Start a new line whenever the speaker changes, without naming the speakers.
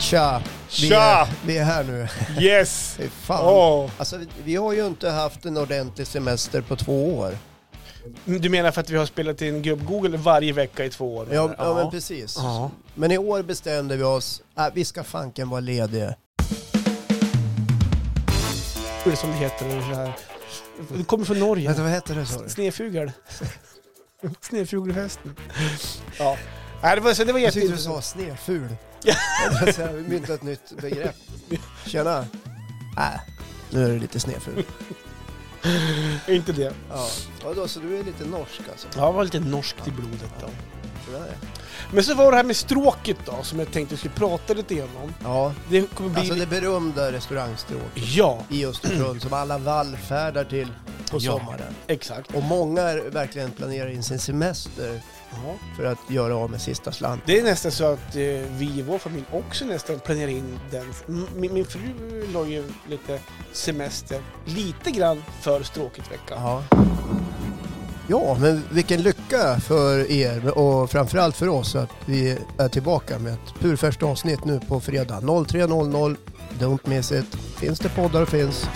Tja! Vi
Tja!
är, vi är här nu.
Yes!
Fy fan.
Åh.
Alltså, vi, vi har ju inte haft en ordentlig semester på två år.
Du menar för att vi har spelat in gubb-Google varje vecka i två år?
Ja, ja. men precis.
Ja.
Men i år bestämde vi oss, äh, vi ska fanken vara lediga.
Eller som det heter. eller Så här. Det kommer från Norge.
Vänta, vad heter det sa du?
Snedfugel. Snedfugelfesten. Ja. Nej, det var, så det var
Jag tyckte du
jätteintressant.
sa sneful. Jag tänkte så här, Vi myntade ett nytt begrepp. Tjena! Äh, nu är du lite sneful.
Inte det.
Ja. Vadå, så du är lite norsk alltså?
Ja, det var lite norskt i blodet då.
Sådär.
Men så var det här med stråket då, som jag tänkte vi skulle prata lite grann om.
Ja,
Det kommer bli...
alltså det berömda restaurangstråket
Ja,
i Östersund som alla vallfärdar till på
Ja.
sommaren.
exakt.
Och många är verkligen planerar in sin semester
Ja.
för att göra av med sista slant.
Det är nästan så att eh, vi i vår familj också nästan planerar in den. M- Min, min fru la ju lite semester, lite grann för stråket vecka.
Ja. ja, men vilken lycka för er och framförallt för oss att vi är tillbaka med ett purfärskt avsnitt nu på fredag 03.00. Dumt missigt. Finns det poddar finns.